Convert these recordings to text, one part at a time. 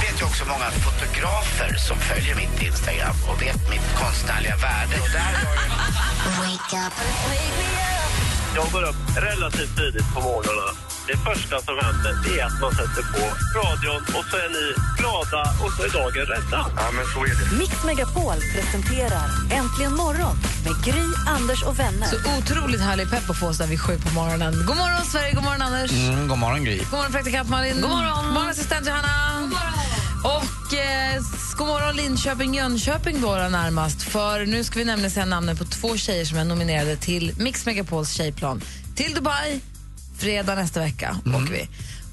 vet ju också många fotografer som följer mitt Instagram och vet mitt konstnärliga värde. Och där har jag... Jag går upp relativt tidigt på morgonen. Det första som händer det är att man sätter på radion och så är ni glada och så är dagen rädda. Ja, men så är det. Mix Megapol presenterar Äntligen morgon med Gry, Anders och vänner. Så otroligt härlig pepp att få oss där vid sju på morgonen. God morgon, Sverige. God morgon, Anders. Mm, god morgon, Gry. God morgon, praktikant Malin. God morgon, assistent Johanna. God morgon. Och eh, s- god morgon, Linköping, Jönköping då, då närmast. För nu ska vi nämligen säga namnen på två tjejer som är nominerade till Mix Megapols tjejplan. Till Dubai, fredag nästa vecka åker vi.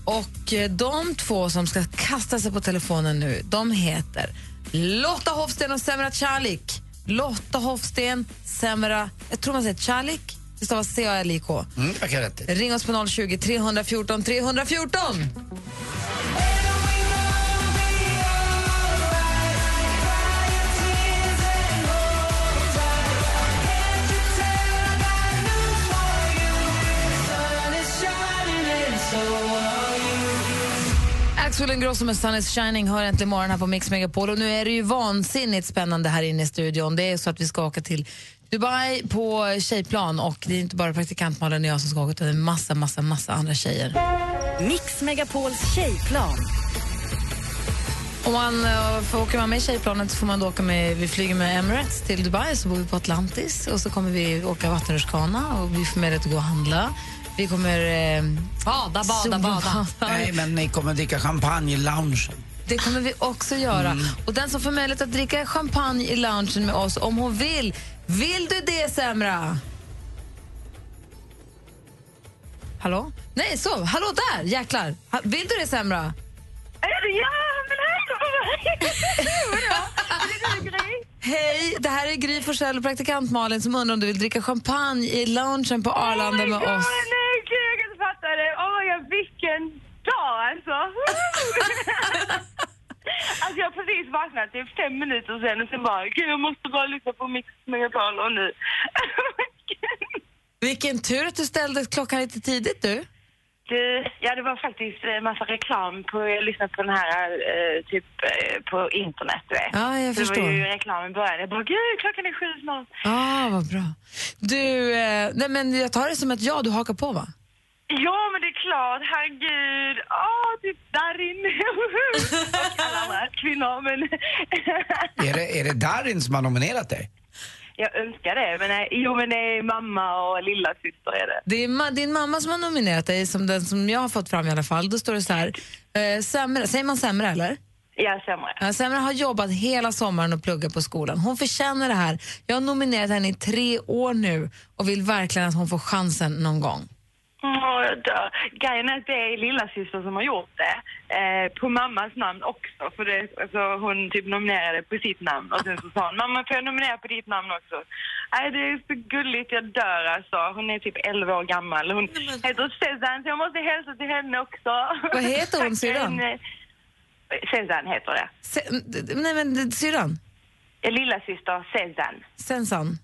Och eh, de två som ska kasta sig på telefonen nu, de heter Lotta Hofsten och Semra Calik. Lotta Hofsten, Semra, jag tror man säger Calik, det stavas C-A-L-I-K. Mm, jag kan rätt i. Ring oss på 020 314 314. Axel Ingrosso med Sun is shining hör äntligen morgon här på Mix Megapol. Och nu är det ju vansinnigt spännande här inne i studion. Det är så att vi ska åka till Dubai på tjejplan och det är inte bara praktikant Malin och jag som ska åka utan det är massa, massa, massa andra tjejer. Mix Megapols tjejplan. Om man eh, får åka med i tjejplanet så får man då åka med, vi flyger med Emirates till Dubai så bor vi på Atlantis och så kommer vi åka vattenrutschkana och vi får möjlighet att gå och handla. Vi kommer... Eh, bada, bada, bada. Nej, men ni kommer dricka champagne i loungen. Mm. Det kommer vi också göra. Och den som får möjlighet att dricka champagne i loungen med oss om hon vill. Vill du det, Semra? Hallå? Nej, så. Hallå där, jäklar. Ha- Vill du det, Semra? Ja, men hej på mig! Hej, det här är Gry Forssell och praktikant Malin som undrar om du vill dricka champagne i loungen på Arlanda Oh med oss. Nej, gud, jag kan inte fatta det. Oh my god, vilken dag alltså! alltså jag har precis vaknat, det är fem minuter sen och sen bara, gud jag måste bara lyssna på Mix Megapol och nu. Vilken tur att du ställde klockan lite tidigt, du. Du, ja det var faktiskt eh, massa reklam på, jag lyssnade på den här eh, typ eh, på internet du vet. Ja, jag det var ju förstår. reklam i början, jag bara gud klockan är sju snart. Ah, vad bra. Du, eh, nej men jag tar det som ett ja, du hakar på va? Ja, men det är klart. Herregud. Åh, typ där inne. Och alla andra kvinnor, men... Är det, är det Darin som har nominerat dig? Jag önskar det, men nej. jo, men det är mamma och lilla syster är det. Det är ma- din mamma som har nominerat dig, som den som jag har fått fram i alla fall. Då står det så här, eh, Semra, säger man sämre eller? Jag sämre. Ja, Semra har jobbat hela sommaren och pluggat på skolan. Hon förtjänar det här. Jag har nominerat henne i tre år nu och vill verkligen att hon får chansen någon gång. Åh, jag dör. Grejen är att det är lilla syster som har gjort det. Eh, på mammas namn också, för det, alltså, hon typ nominerade på sitt namn och sen så sa hon mamma får jag nominera på ditt namn också? Nej, det är så gulligt, jag dör alltså. Hon är typ 11 år gammal. Hon heter Cezanne, så jag måste hälsa till henne också. Vad heter hon, Tacka syrran? henne. Cezanne heter det. Se, n- d- nej men d- syrran, Eh, Lilla syster Cezanne. Sensan.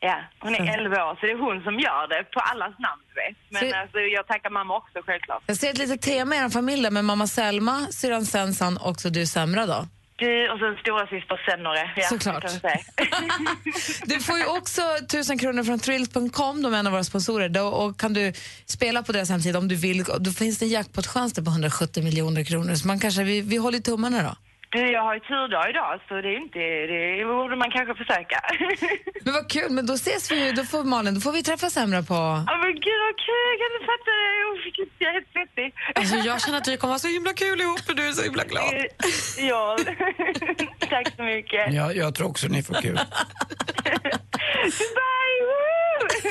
Ja, hon är Cezanne. 11 år, så det är hon som gör det på allas namn, du vet. Men Så- alltså, jag tackar mamma också, självklart. Jag ser ett litet tema i er familj där med mamma Selma, syrran Sensan och så du Semra då. Du och sen stora syster Senore. Ja, Såklart. det Kan jag säga. Du får ju också 1000 kronor från Thrills.com, de är en av våra sponsorer. Då, och kan du spela på deras hemsida om du vill. Då finns det en jackpot-chans där på 170 miljoner kronor. Så man kanske, vi, vi håller tummarna då. du, jag har ju turdag idag så det är ju inte, det borde man kanske försöka. Men vad kul, men då ses vi ju, då får Malin, då får vi träffas sämre på... Ja men gud vad kul, jag kan inte fatta det. Oh, shit, jag är helt svettig. Alltså jag känner att vi kommer ha så himla kul ihop för du är så himla glad. ja, tack så mycket. Jag, jag tror också ni får kul. Bye! woo!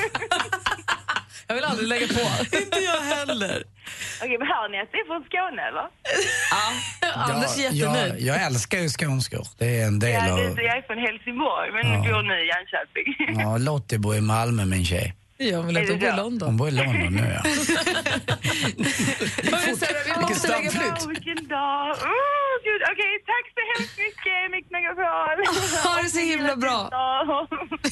Jag vill aldrig lägga på. Inte jag heller. Okej, men hör ni att det är från Skåne eller? Anders är jättenöjd. jag, jag älskar ju skånskor. Det är en del Ja, av... det, jag är från Helsingborg men bor nu i Jönköping. Ja, Lottie bor i Malmö, min tjej. Ja, men att de Är det bor i så? Hon London. bor i London nu, ja. Hörru, Sara, vi måste lägga på. Åh, vilken dag! Oh, gud. Okej, tack så hemskt mycket, Mix Megapol! Ha det så himla bra.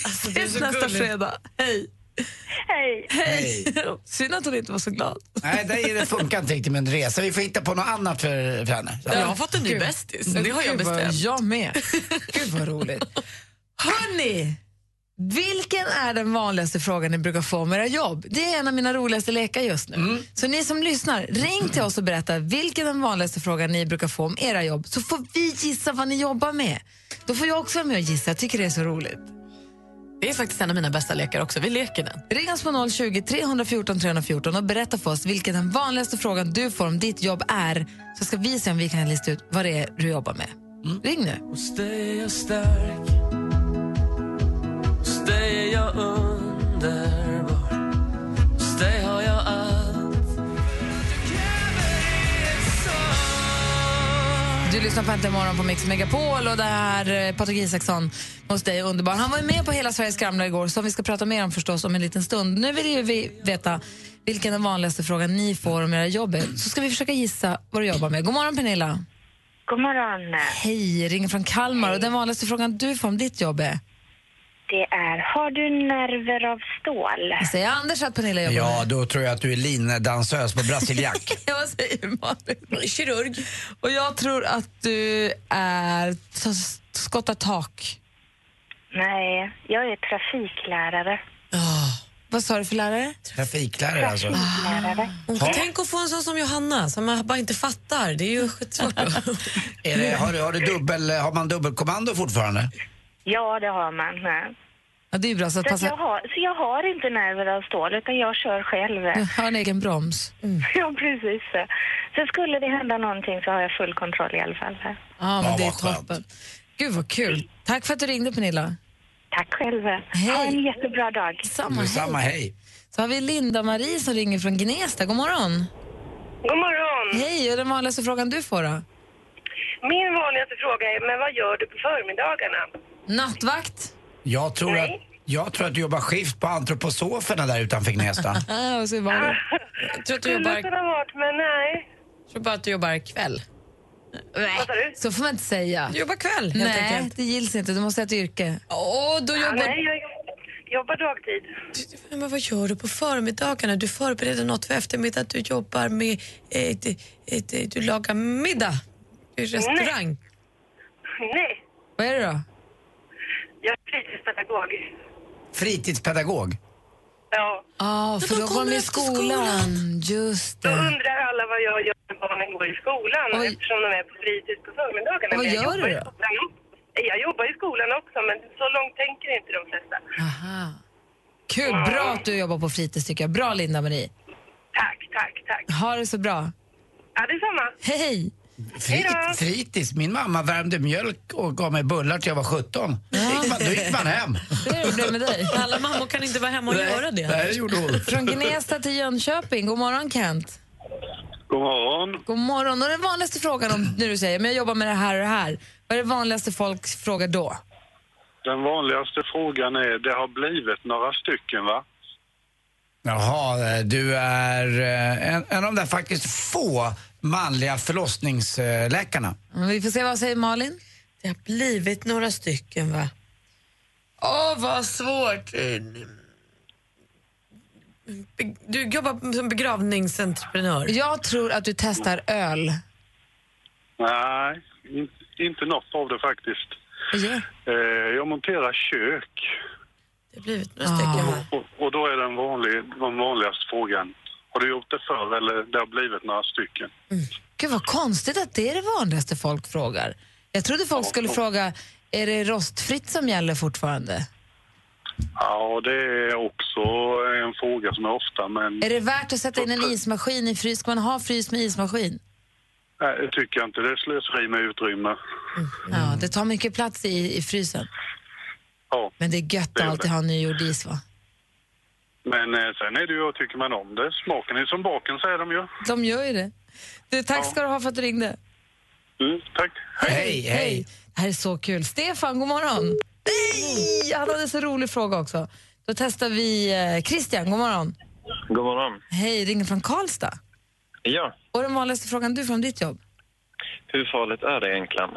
Ses nästa fredag. Hej. Hej! Hej. Synd att hon inte var så glad. Nej, det, det funkar inte riktigt med en resa. Vi får hitta på något annat för, för henne. Så. Jag har fått en ny bästis. Det har jag Gud, vad- bestämt. Jag med. Gud vad roligt. Hörni, vilken är den vanligaste frågan ni brukar få om era jobb? Det är en av mina roligaste lekar just nu. Mm. Så ni som lyssnar, ring till oss och berätta vilken den vanligaste frågan ni brukar få om era jobb så får vi gissa vad ni jobbar med. Då får jag också vara med och gissa. Jag tycker det är så roligt. Det är faktiskt en av mina bästa lekar också. Vi leker den. Ring oss på 020 314 314 och berätta för oss vilken den vanligaste frågan du får om ditt jobb är så ska vi se om vi kan lista ut vad det är du jobbar med. Ring nu. Du lyssnar på Äntligen morgon på Mix Megapol och där Patrik Isaksson hos dig är underbar. Han var ju med på Hela Sveriges gamla igår som vi ska prata mer om förstås om en liten stund. Nu vill ju vi veta vilken den vanligaste frågan ni får om era jobb är. Så ska vi försöka gissa vad du jobbar med. God morgon Pernilla. God morgon. Hej, ringer från Kalmar och den vanligaste frågan du får om ditt jobb är? Det är Har du nerver av stål? Jag säger Anders att Pernilla jobbar Ja, med. då tror jag att du är linedansös på brasiliack. Ja, vad säger Malin? Kirurg. Och jag tror att du är t- skottar tak. Nej, jag är trafiklärare. Ah. Vad sa du för lärare? Trafiklärare alltså. Lärare. Tänk att få en sån som Johanna som bara inte fattar. Det är ju skitsvårt. Är det, har, du, har, du dubbel, har man dubbelkommando fortfarande? Ja, det har man. Nej. Ja, det är ju bra. Så att Så, att jag passa... har, så jag har inte nerver av stål, utan jag kör själv. Mm. Jag har en egen broms. Ja, precis. Så skulle det hända någonting så har jag full kontroll i alla fall. Ja, men Ja, det är vad skönt. toppen. Gud, vad kul. Tack för att du ringde, Pernilla. Tack själv. Ha Hej. en jättebra dag. Samma, Du, samma hej. hej. Så har vi Linda-Marie som ringer från Gnesta. God morgon. God morgon. Hej, och den vanligaste frågan du får då? Min vanligaste fråga är, men vad gör du på förmiddagarna? Nattvakt? Jag tror, att, jag tror att du jobbar skift på antroposoferna där utanför Gnesta. Äh, och så var det. Jag tror, att Mm. du jobbar, kunna varit, men nej. tror bara att du jobbar kväll. Vad sa du? Så får man inte säga. Du jobbar kväll, helt Nej, enkelt. det gills inte. Du måste ha ett yrke. Åh, då Ja, jobbar... nej, jag jobbar dagtid. Du- Men vad gör du på förmiddagarna? Du förbereder något för eftermiddag. Du jobbar med... Ett, ett, ett, du lagar middag. Du är restaurang. Nej, Vad är det då? jag är fritidspedagog. Fritidspedagog. Ja. Ja, för de då går kommer de i efter skolan. skolan. Just Då det. undrar alla vad jag gör när barnen går i skolan Oj. eftersom de är på fritids på förmiddagarna. Vad Men jag gör jobbar du i då? skolan. Jag jobbar i skolan också, men så långt tänker inte de flesta. Aha. Kul, bra att du jobbar på fritids tycker jag. Bra Linda-Marie. Tack, tack, tack. Ha det så bra. Ja, detsamma. Hej! Fri, Hejdå. fritids. Min mamma värmde mjölk och gav mig bullar till jag var 17. Då gick man, då gick man hem. Hur är det med dig? Alla mammor kan inte vara hemma och göra det. Nej, det gjorde hon. Från Gnesta till Jönköping. God morgon Kent. God morgon. God morgon. Och den vanligaste frågan om när du säger men jag jobbar med det här och det här. Vad är det vanligaste folk frågar då? Den vanligaste frågan är, det har blivit några stycken va? Jaha, eh, du är eh, en, en av de där faktiskt få manliga förlossningsläkarna. Mm, Vi får se vad säger Malin. Det har blivit några stycken, va? Åh, vad svårt. Eh, be- Du jobbar som begravningsentreprenör. Jag tror att du testar öl. Nej, in, inte något av det faktiskt. Ja. Eh, jag monterar kök Det har blivit några stycken, Ah. va? och, och då är den, vanlig, den vanligaste frågan, har du gjort det förr eller det har blivit några stycken? Gud vad konstigt att det är det vanligaste folk frågar. Jag trodde folk skulle fråga är det rostfritt som gäller fortfarande? Ja, det är också en fråga som är ofta, men Är det värt att sätta in en ismaskin i frys? Ska man ha frys med ismaskin? nej, det eh, tycker jag inte. Det är slöseri med utrymme. Ja, det tar mycket plats i, i frysen. Ja, Men det är gött Det att gör alltid det. ha nygjord is va? Men eh, sen är det ju, tycker man om det? Smaken är som baken, säger de ju. De gör ju det. Du, tack ska du ha för att du ringde. Mm, tack. Hej, hej. Det här är så kul. Stefan, god morgon. Nej, han hade en så rolig fråga också. Då testar vi eh, Christian, god morgon. God morgon. Hej, ringer från Karlstad. Ja, Och den vanligaste frågan du får om ditt jobb? hur farligt är det egentligen?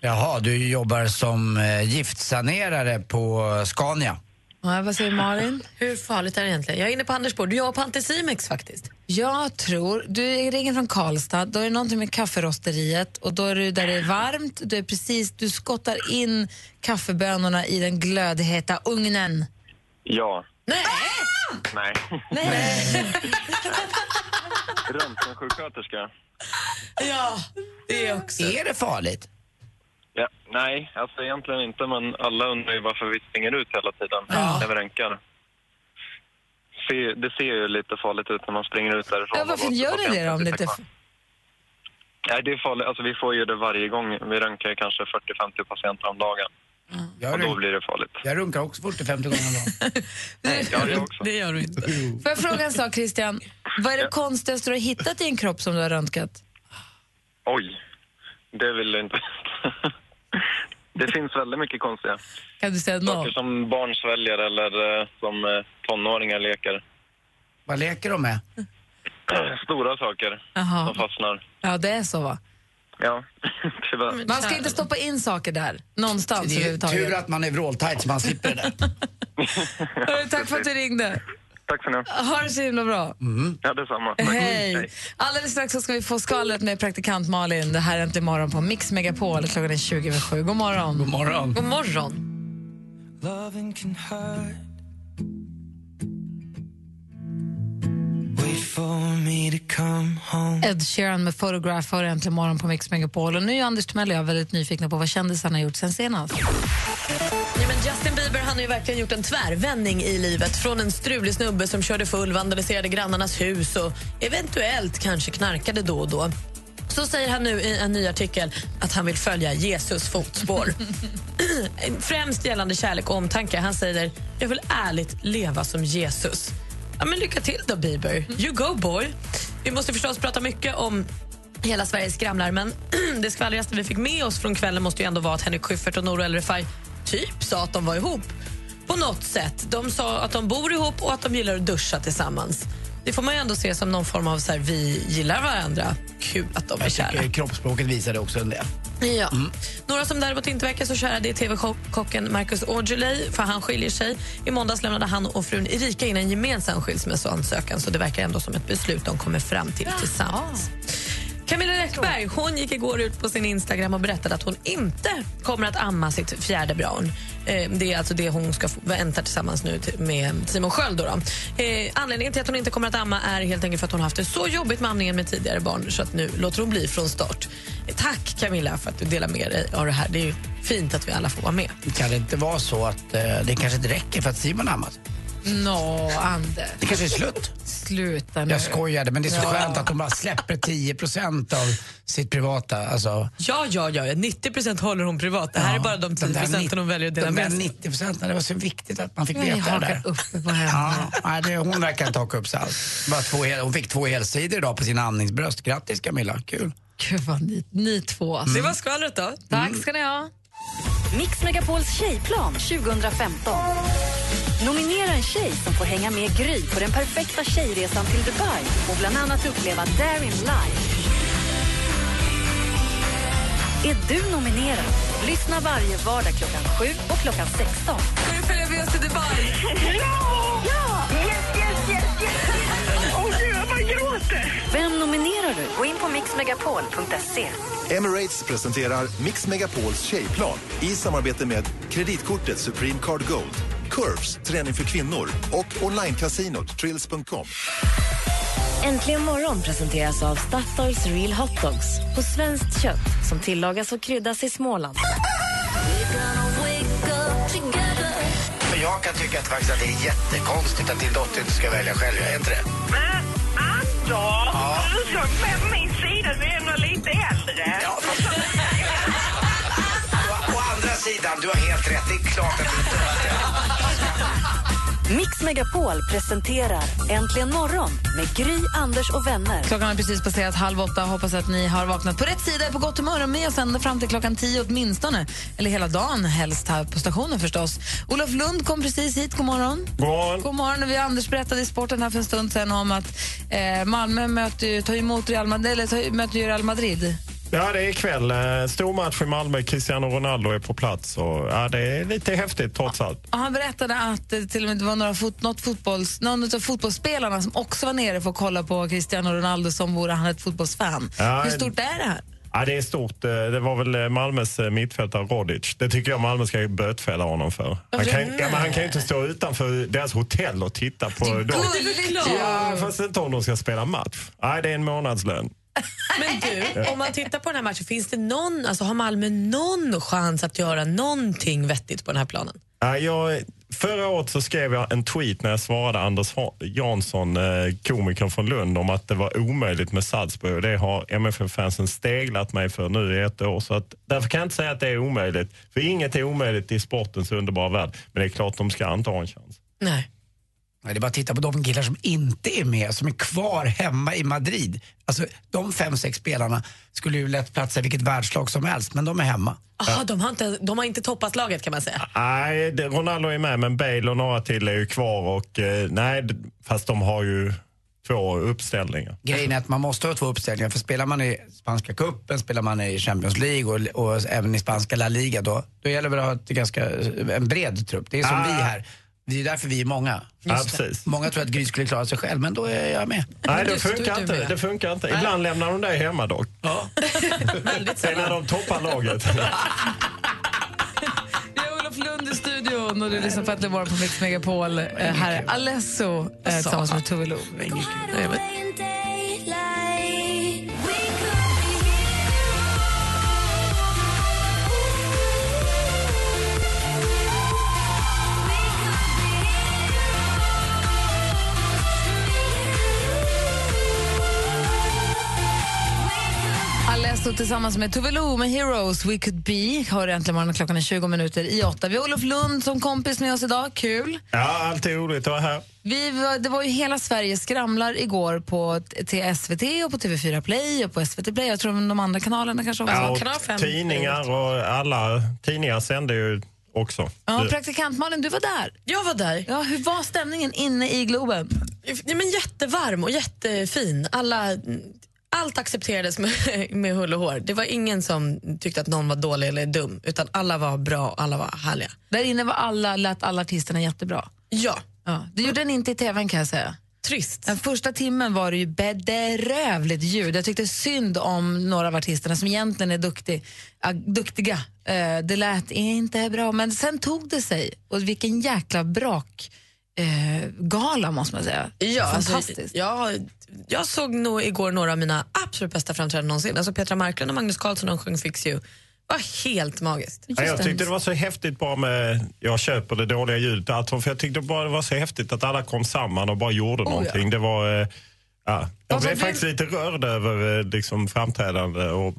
Jaha, du jobbar som eh, giftsanerare på Scania. Ja, vad säger Malin? Hur farligt är det egentligen? Jag är inne på Anders spår. Du jobbar på Anticimex faktiskt. Jag tror, du ringer från Karlstad, då är det någonting med kafferosteriet och då är du där det är varmt, du, är precis, du skottar in kaffebönorna i den glödheta ugnen. Ja. Nej! Nej. Nej. Röntgensjuksköterska? Ja, det också. Är det farligt? Ja. Nej, alltså egentligen inte, men alla undrar ju varför vi springer ut hela tiden när vi röntgar. Se- Det ser ju lite farligt ut när man springer ut därifrån. Ja, varför och gör ni det då om patienten det inte... sitter kvar. Nej, det är farligt. Alltså, vi får ju det varje gång. Vi röntgar ju kanske 40-50 patienter om dagen. Jag, Och då runk, blir det farligt. jag runkar också 40-50 gånger om dagen. Nej, jag gör också. Det gör du inte. Får jag fråga en sak Christian? Vad är det konstigaste du har hittat i en kropp som du har röntgat? Oj, det vill jag inte veta. Det finns väldigt mycket konstiga. Kan du säga Saker något? som barn sväljer eller eh, som eh, tonåringar leker. Vad leker de med? Stora saker Jaha. som fastnar. Ja, det är så va? Ja, tyvärr. Man ska inte stoppa in saker där, någonstans Det är ju tur överhuvudtaget. att man är vråltajt så man slipper det där. Hörru, Tack för att du ringde. Tack så ni ha. Ha det så himla bra. Ja, detsamma. Mm, Hej! Alldeles strax så ska vi få skvallret med praktikant Malin. Det här är Äntligen morgon på Mix Megapol. Klockan är 20 över sju. God morgon. God morgon. God morgon. Ed Sheeran med Photograph har Äntligen morgon på Mix Megapol. Och nu är Anders Timell och jag väldigt nyfikna på vad kändisarna har gjort sen senast. Ja, men Justin Bieber han har ju verkligen gjort en tvärvändning i livet. Från en strulig snubbe som körde full, vandaliserade grannarnas hus och eventuellt kanske knarkade då och då. Så säger han nu i en ny artikel att han vill följa Jesus fotspår. Främst gällande kärlek och omtanke. Han säger jag vill ärligt leva som Jesus. Ja, men lycka till då, Bieber. You go, boy. Vi måste förstås prata mycket om hela Sverige skramlar, men det skvallrigaste vi fick med oss från kvällen måste ju ändå vara att Henrik Schyffert och Nour El Refai typ sa att de var ihop. På något sätt. De sa att de bor ihop och att de gillar att duscha tillsammans. Det får man ju ändå se som någon form av så här, vi gillar varandra. Kul att de är Jag kära. tycker kroppsspråket visade också en del. Ja. Några som däremot inte verkar så kära det är tv-kocken Marcus Aujalay, för han skiljer sig. I måndags lämnade han och frun Erika in en gemensam skilsmässoansökan så det verkar ändå som ett beslut de kommer fram till tillsammans. Camilla Läckberg hon gick igår ut på sin Instagram och berättade att hon inte kommer att amma sitt fjärde barn. Eh, Det är alltså det hon ska få- vänta tillsammans nu till- med Simon Sköld. Då då. Eh, Anledningen till att hon inte kommer att amma är helt enkelt för att hon har haft det så jobbigt med amningen med tidigare barn så att nu låter hon bli från start. Eh, Tack Camilla för att du delar med dig av det här. Det är ju fint att vi alla får vara med. Kan det inte vara så att eh, det kanske inte räcker för att Simon har ammat? Nå, Anders. Det kanske är slut? Sluta nu. Jag skojade, men det är så Ja. skönt att de bara släpper 10 av sitt privata. Alltså, Ja, ja, ja. 90 håller hon privat. Det här är bara de 10 procenten hon väljer att dela de där med sig 90 procenten, det var så viktigt att man fick Ni veta det där. hakar upp på henne. Ja, nej, det, hon verkar inte haka upp sig alls. Bara två hel, hon fick två helsidor idag på sina amningsbröst. Grattis Camilla, kul. Gud vad ni, ni två alltså. Det var skvallret då. Tack ska ni ha. Mix Megapols tjejplan 2015. Nominera en tjej som får hänga med Gry på den perfekta tjejresan till Dubai och bland annat uppleva Darin live. Är du nominerad? Lyssna varje vardag klockan 7 och klockan 16. Ska du följa med oss till Dubai? Ja! Yes, yes, yes, yes! Åh gud, jag bara gråter! Vem nominerar du? Gå in på mixmegapol.se. Emirates presenterar Mix Megapols tjejplan i samarbete med kreditkortet Supreme Card Gold, Curves, träning för kvinnor och onlinekasinot Trills.com. Äntligen morgon presenteras av Statoils Real Hot Dogs på svenskt kött som tillagas och kryddas i Småland. För jag kan tycka att, faktiskt att det är jättekonstigt att din dotter inte ska välja själv. Jag är inte det? Men Anders, du såg med på min sida, du är ändå lite äldre. Å, å andra sidan, du har helt rätt. Det är klart att du inte har det. Mix Megapol presenterar Äntligen morgon med Gry, Anders och vänner. Klockan har precis passerat halv åtta. Hoppas att ni har vaknat på rätt sida, är på gott humör och med oss ända fram till klockan tio åtminstone. Eller hela dagen helst här på stationen förstås. Olof Lund kom precis hit. God morgon. God morgon. God morgon. Vi Anders berättade i sporten här för en stund sedan om att eh, Malmö möter, ju- tar emot Real Madrid, eller tar, möter ju Real Madrid. Ja, det är ikväll. eh, Stor match i Malmö. Cristiano Ronaldo är på plats. Och, ja, det är lite häftigt trots allt. Och han berättade att eh, till och med det var några fot, något fotbolls, någon av fotbollsspelarna som också var nere för att kolla på Cristiano Ronaldo som vore han ett fotbollsfan. Ja, Hur stort är det här? Ja, det är stort. Eh, Det var väl eh, Malmös eh, mittfältare Rodic. Det tycker jag Malmö ska bötfälla honom för. Han kan, ja, men han kan ju inte stå utanför deras hotell och titta på dem. gulligt. Ja, fast inte om de ska spela match. Nej, det är en månadslön. Men du, Ja. om man tittar på den här matchen, finns det någon, alltså har Malmö någon chans att göra någonting vettigt på den här planen? Ja, jag, förra året så skrev jag en tweet när jag svarade Anders Ha- Jansson, eh, komikern från Lund, om att det var omöjligt med Salzburg. Det har MFF-fansen steglat mig för nu i ett år. Så att, därför kan jag inte säga att det är omöjligt. För inget är omöjligt i sportens underbara värld. Men det är klart de ska inte ha en chans. Nej. Det är bara att titta på de killar som inte är med, som är kvar hemma i Madrid. Alltså, de fem, sex spelarna skulle ju lätt platsa i vilket världslag som helst, men de är hemma. Aha, de, har inte, de har inte toppat laget kan man säga. Nej, det, Ronaldo är med, men Bale och några till är ju kvar. Och, eh, nej, d- fast de har ju två uppställningar. Grejen är att man måste ha två uppställningar, för spelar man i spanska cupen, spelar man i Champions League och, och även i spanska La Liga, då, då gäller det att ha ett ganska, en bred trupp. Det är som Ah. vi här. Det är därför vi är många. Ja, Just det. precis. Många tror att Gry skulle klara sig själv, men då är jag med. Nej, det funkar inte. Det funkar inte. Ibland lämnar de dig hemma dock. det är när de toppar laget. Det är Olof Lund i studion och du lyssnar på Äntligen morgon på Mix Megapol. Eh, Här är Alesso eh, tillsammans med Tove Lo. Alesso tillsammans med Tove Lo med Heroes We Could Be. Hör Äntligen morgon klockan är 20 minuter i åtta. Vi har Olof Lund som kompis med oss idag. Kul. Ja, alltid roligt att vara här. Vi var, det var ju hela Sverige skramlar igår på t- till SVT och på TV4 Play och på SVT Play. Jag tror de andra kanalerna kanske också. Ja, var och kanal fem. tidningar och alla tidningar sänder ju också. Ja, Du- praktikant Malin, du var där. Jag var där. Ja, hur var stämningen inne i Globen? Ja, men jättevarm och jättefin. Alla, allt accepterades med, med hull och hår. Det var ingen som tyckte att någon var dålig eller dum, utan alla var bra och alla var härliga. Där inne var alla, lät alla artisterna jättebra. Ja. ja. Det gjorde den inte i tvn kan jag säga. Trist. Den första timmen var det ju bedrövligt ljud. Jag tyckte synd om några av artisterna som egentligen är duktig, äh, duktiga. Eh, det lät inte bra, men sen tog det sig. Och vilken jäkla brak eh, gala måste man säga. Ja, alltså, Fantastiskt. jag, jag såg nog igår några av mina absolut bästa framträdanden någonsin. Alltså Petra Marklund och Magnus Carlsson de sjöng Fix You. var helt magiskt. Ja, jag tyckte det var så häftigt bara med, jag köper det dåliga ljudet, att, för jag tyckte bara det var så häftigt att alla kom samman och bara gjorde ja. någonting. Det var, eh, ja. Jag Alltså, blev det- faktiskt lite rörd över eh, liksom, framträdande och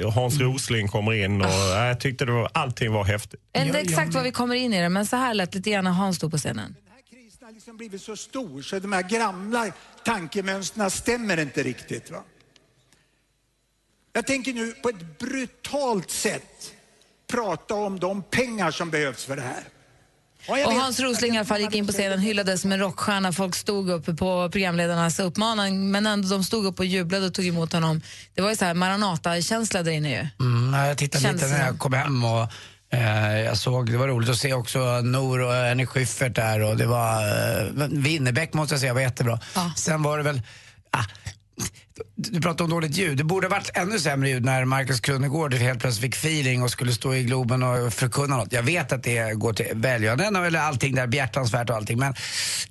ja, Hans Rosling kommer in och ja, jag tyckte det var, allting var häftigt. Jag vet inte exakt var vi kommer in i det, men så här lät lite grann när Hans stod på scenen. liksom blivit så stor så de här gamla tankemönstren stämmer inte riktigt. Va? Jag tänker nu på ett brutalt sätt prata om de pengar som behövs för det här. Ja, jag Och vet. Hans Rosling i alla fall gick in på scenen, hyllades som en rockstjärna. Folk stod upp på programledarnas uppmaning, men ändå de stod upp och jublade och tog emot honom. Det var ju så här Maranata-känsla där inne ju. Mm, jag tittade lite när Känslan. jag kom hem och eh, jag såg, det var roligt att se också Nor och Henrik Schyffert där och det var eh, Winnerbäck måste jag säga var jättebra. Sen var det väl, ah, du pratade om dåligt ljud. Det borde ha varit ännu sämre ljud när Markus Krunegård helt plötsligt fick feeling och skulle stå i Globen och förkunna något. Jag vet att det går till välgörande eller allting där, behjärtansvärt och allting, men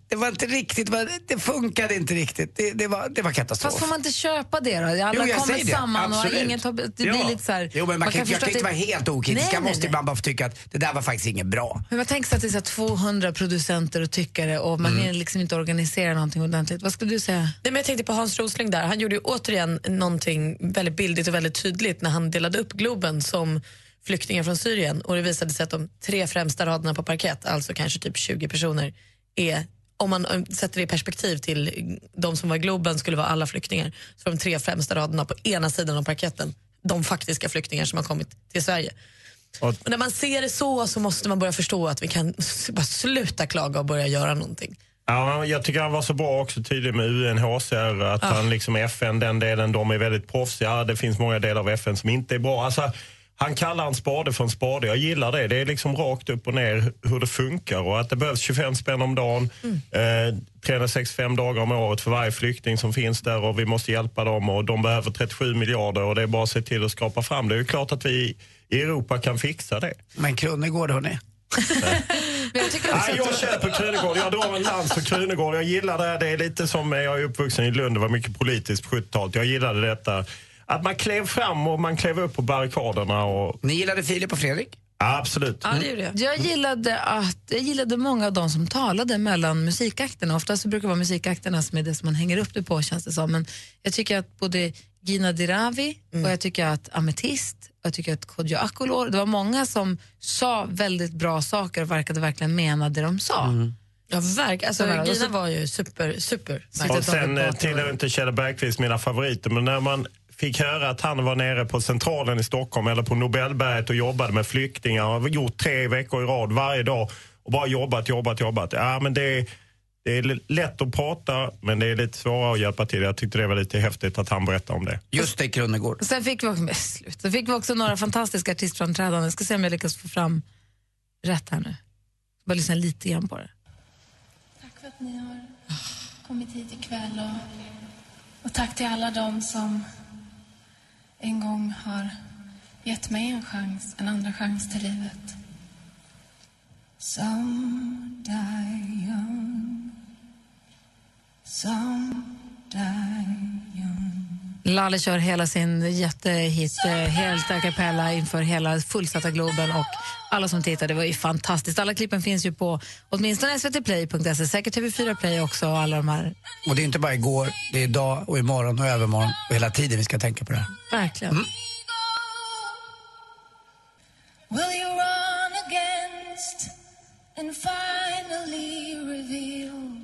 det var inte riktigt, det var- det funkade inte riktigt. Det, det, var, det var katastrof. Fast får man inte köpa det Jo, då? Alla jag kommer säger det. samman och Absolut. inget har... Det blir Ja. lite så här... Jo, men man, kan, jag förstå kan att inte vara helt okritisk. Nej, jag nej, måste nej. ibland bara få tycka att det där var faktiskt inget bra. Men man tänker sig att det är så här 200 producenter och tyckare och man Mm. hinner liksom inte organisera någonting ordentligt. Vad skulle du säga? Nej, men jag tänkte på Hans Rosling där. Han gjorde ju återigen någonting väldigt bildigt och väldigt tydligt när han delade upp Globen som flyktingar från Syrien och det visade sig att de tre främsta raderna på parkett, alltså kanske typ 20 personer, är, om man eh, sätter det i perspektiv till de som var i Globen skulle vara alla flyktingar, så de tre främsta raderna på ena sidan av parketten, de faktiska flyktingar som har kommit till Sverige. Och när man ser det så så måste man börja förstå att vi kan s- bara sluta klaga och börja göra någonting. Ja, jag tycker han var så bra också tydlig med UNHCR, att han liksom FN, den delen, de är väldigt proffsiga. Det finns många delar av FN som inte är bra. Alltså, han kallar en spade för en spade. Jag gillar det. Det är liksom rakt upp och ner hur det funkar och att det behövs 25 spänn om dagen, eh, 365 dagar om året för varje flykting som finns där och vi måste hjälpa dem och de behöver 37 miljarder och det är bara att se till att skapa fram det. Det är ju klart att vi i Europa kan fixa det. Men Kronegård hörni. Men jag tycker också Nej, jag att- kör på Krunegård. Jag drar en lans för Krunegård. Jag gillar det. här. Det är lite som eh, jag är uppvuxen i Lund. Det var mycket politiskt på 70-talet. Jag gillade detta. Att man klev fram och man klev upp på barrikaderna. Och... Ni gillade Filip och Fredrik? Absolut. Jag gillade, att, jag gillade många av de som talade mellan musikakterna. Ofta så brukar det vara musikakterna som är det som man hänger upp det på känns det som. Men jag tycker att både Gina Dirawi och jag tycker att Ametist och jag tycker att Kodjo Akolor, det var många som sa väldigt bra saker och verkade verkligen mena det de sa. Ja, verk, alltså, Så här, och Gina så- var ju super, super. Och sen eh, tillhör inte Kjell Bergqvist mina favoriter, men när man fick höra att han var nere på Centralen i Stockholm eller på Nobelberget och jobbade med flyktingar och har gjort tre veckor i rad varje dag och bara jobbat, jobbat, jobbat. Ja, men det, är- det är l- lätt att prata, men det är lite svårare att hjälpa till. Jag tyckte det var lite häftigt att han berättade om det. Just det, Kronegård. Sen fick vi också, men slut. Sen fick vi också några fantastiska artistframträdanden. Jag ska se om jag lyckas få fram rätt här nu. Bara lyssna lite grann på det. Tack för att ni har kommit hit ikväll och, och tack till alla dem som en gång har gett mig en chans, en andra chans till livet. Some die young, some die Lalle kör hela sin jättehit, eh, helt a cappella inför hela fullsatta Globen och alla som tittar, det var ju fantastiskt. Alla klippen finns ju på åtminstone svtplay.se, E. säkert TV4 Play också och alla de här. Och det är inte bara igår, det är idag och imorgon och övermorgon och hela tiden vi ska tänka på det här. Verkligen. Will you run against and finally reveal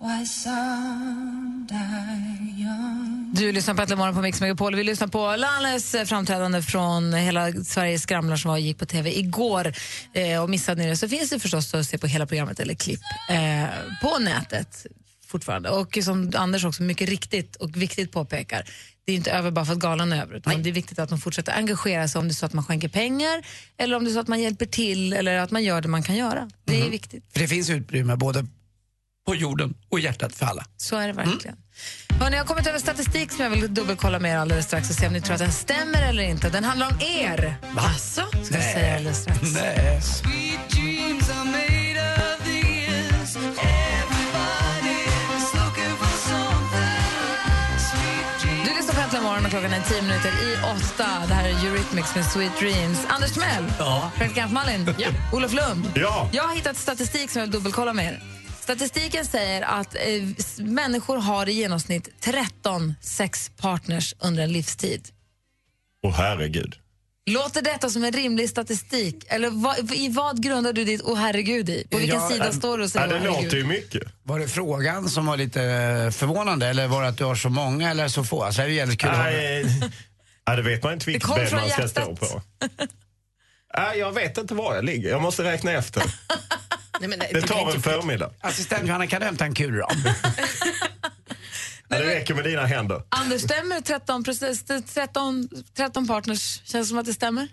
why some die young? Du lyssnar på Äntligen morgon på Mix Megapol. Vi lyssnar på Lalles eh, framträdande från Hela Sveriges skramlar som var och gick på tv igår. Eh, och missade ni det så finns det förstås att se på hela programmet eller klipp eh, på nätet fortfarande. Och som Anders också mycket riktigt och viktigt påpekar, det är inte över bara för att galan är över. Utan det är viktigt att de fortsätter engagera sig om det är så att man skänker pengar eller om det är så att man hjälper till eller att man gör det man kan göra. Det är viktigt. För det finns utrymme både på jorden och i hjärtat för alla. Så är det Mm. verkligen. Hörrni, jag har kommit över statistik som jag vill dubbelkolla med er alldeles strax och se om ni tror att den stämmer eller inte. Den handlar om er. Va? Alltså, ska jag säga alldeles strax. Nej. Sweet dreams are made of these. Everybody's looking for something. Sweet Du lyssnar på Äntligen morgon och klockan är tio minuter i åtta. Det här är Eurythmics med Sweet Dreams. Anders Timell. Ja. Praktikant Malin. Ja. Olof Lund. Ja. Jag har hittat statistik som jag vill dubbelkolla med er. Statistiken säger att eh, s- människor har i genomsnitt 13 sexpartners under en livstid. Åh herregud. Låter detta som en rimlig statistik? Eller vad, i vad grundar du ditt åh herregud i? På vilken Ja, sida äh, står du och säger äh, det åh herregud? låter ju mycket. Var det frågan som var lite eh, förvånande eller var det att du har så många eller så få? Alltså, det är ju jävligt kul att Nej, ja, det vet man inte vilket kom ben från man ska stå hjärtat. på. Nej, jag vet inte var jag ligger. Jag måste räkna efter. Nej, men Det tar en förmiddag. Assistent Johanna, kan du hämta en kulram? Ja, det räcker med dina händer. Mm. Anders, stämmer 13, precis, 13, 13 partners? Känns som att det stämmer?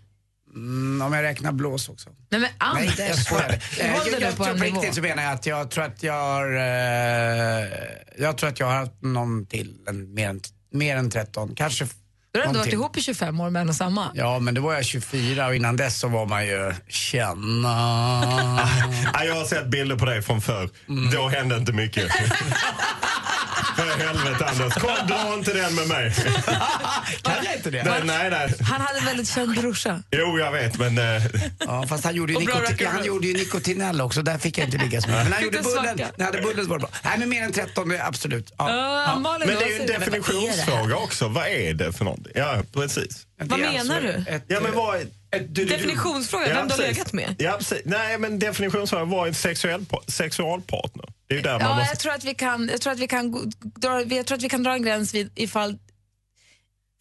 Mm, om jag räknar blås också. Nej men Anders! Nej, jag skojar. Eh, Håll dig jag, nu jag, på jag, en på nivå. riktigt så menar jag att jag tror att jag har, eh, jag tror att jag har haft någon till, en, mer, än, mer än 13, kanske f- Du har ändå någon varit till. ihop i 25 år med en och samma. Ja, men då var jag 24 och innan dess så var man ju känna. Ja, jag har sett bilder på dig från förr. Mm. Då hände inte mycket. För helvete Anders. Kom, dra inte den med mig. kan jag inte det? Nej, nej, nej. Han hade en väldigt känd brorsa. Jo, jag vet, men... eh, Ja, fast han gjorde, ju Och bra nikotin, rackare. han gjorde ju nikotinell också, där fick jag inte ligga så mycket. Men han gjorde Lite bullen, svacka. när han hade bullen så var det bra. Nej, men mer än 13, det är absolut. Ja. Ja. Men det är ju en definitionsfråga också. Vad är det för någonting? Ja, precis. Det är alltså ett- Ja, men vad, Definitionsfråga, vem du har precis. legat med. Ja, precis. Nej, men definitionsfrågan var en sexuell, pa- sexualpartner. Det är ju där man Ja, måste... jag tror att vi kan, jag tror att vi kan, gå- dra, jag tror att vi kan dra en gräns vid ifall...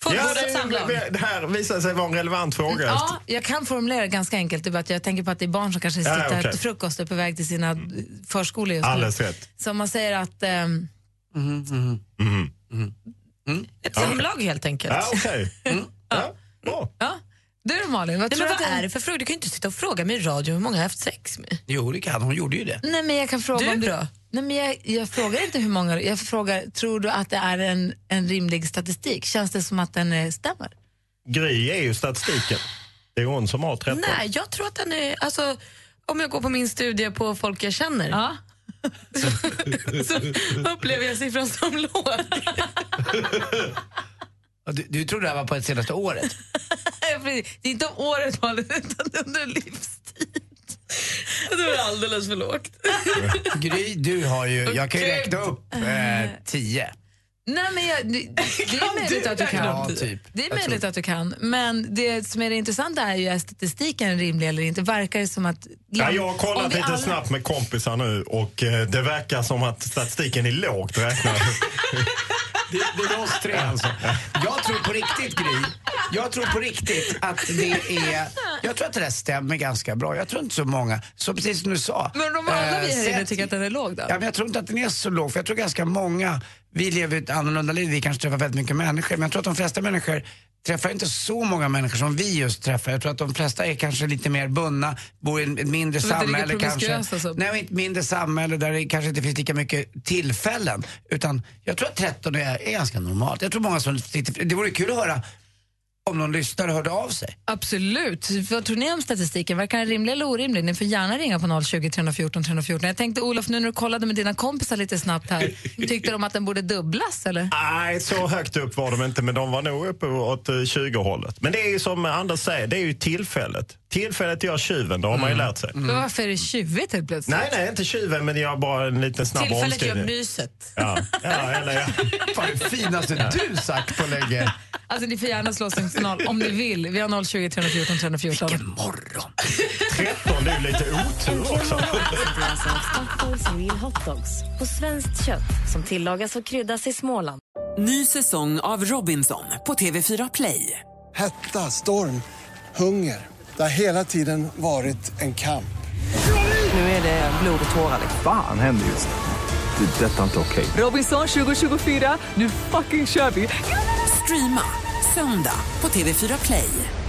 Fullbordat det- samlag. Det här visar sig vara en relevant fråga. Ja, jag kan formulera det ganska enkelt. Det är bara att jag tänker på att det är barn som kanske Ja, sitter okej. Mm. till frukost och är på väg till sina förskolor just nu. Alldeles rätt. Så om man säger att... ehm, Ett Ja. samlag helt enkelt. Ja, okej. Du då Malin, vad Nej, men tror du vad att det- är det för fråga? Du kan ju inte sitta och fråga mig i radio hur många jag har haft sex med. Jo, det kan hon. gjorde ju det. Nej, men jag kan fråga Du om du... då? Nej, men jag, jag frågar inte hur många... Jag frågar, tror du att det är en, en rimlig statistik? Känns det som att den eh, stämmer? Gry är ju statistiken. Det är hon som har 13. Nej, jag tror att den är... Alltså, om jag går på min studie på folk jag känner så upplever jag siffran som låg. Ja, Du, du trodde det här var på det senaste året? Precis. det är inte om året Malin, utan under livstid. Det var alldeles för lågt. Gry, du har ju, jag kan ju räkna upp eh, tio. Nej, men jag, det, det Kan är möjligt du att du kan. räkna upp tio? Ja, typ. Det är Jag möjligt tror- att du kan. Men det som är det intressanta är ju, är statistiken rimlig eller inte? Verkar det som att... Ja, jag har Om kollat vi lite alla- snabbt med kompisar nu och eh, det verkar som att statistiken är lågt räknad. Det, det är oss tre alltså. Jag tror på riktigt Gry, jag tror på riktigt att det är, jag tror att det där stämmer ganska bra. Jag tror inte så många, så precis som du sa. Men de alla eh, vi här inne sett- tycker att den är låg då? Ja, men jag tror inte att den är så låg, för jag tror ganska många, vi lever ju ett annorlunda liv, vi kanske träffar väldigt mycket människor, men jag tror att de flesta människor träffar inte så många människor som vi just träffar. Jag tror att de flesta är kanske lite mer bundna, bor i ett mindre De är inte lika samhälle kanske. promiskuösa som- Nej, och ett mindre samhälle där det kanske inte finns lika mycket tillfällen. Utan jag tror att 13 är, är ganska normalt. Jag tror många som sitter, det vore kul att höra om någon lyssnare hörde av sig. Absolut. Vad tror ni om statistiken? Verkar den rimlig eller orimlig? Ni får gärna ringa på 020 314 314. Jag tänkte Olof, nu när du kollade med dina kompisar lite snabbt här, tyckte de att den borde dubblas eller? Nej, så högt upp var de inte, men de var nog uppe åt eh, 20-hållet. Men det är ju som Anders säger, det är ju tillfället. Tillfället gör tjuven, det har Mm. man ju lärt sig. Men varför är det tjuvigt helt plötsligt? Nej, nej, inte tjuven, men jag har bara en liten snabb omskrivning. myset. Ja, ja, eller ja. Fan, det finaste du sagt på länge. Alltså ni får gärna slå oss en noll om ni vill. Vi har 020 314 314. Vilken morgon! 13, det är ju lite otur också. Stockholms Real Hot Dogs på svenskt kött som tillagas och kryddas i Småland. Ny säsong av Robinson på TV4 Play. Hetta, storm, hunger. Det har hela tiden varit en kamp. Nu är det blod och tårar. liksom. Fan händer just det. Det är detta inte okej. Robinson 2024, nu fucking kör vi! Streama söndag på TV4 Play.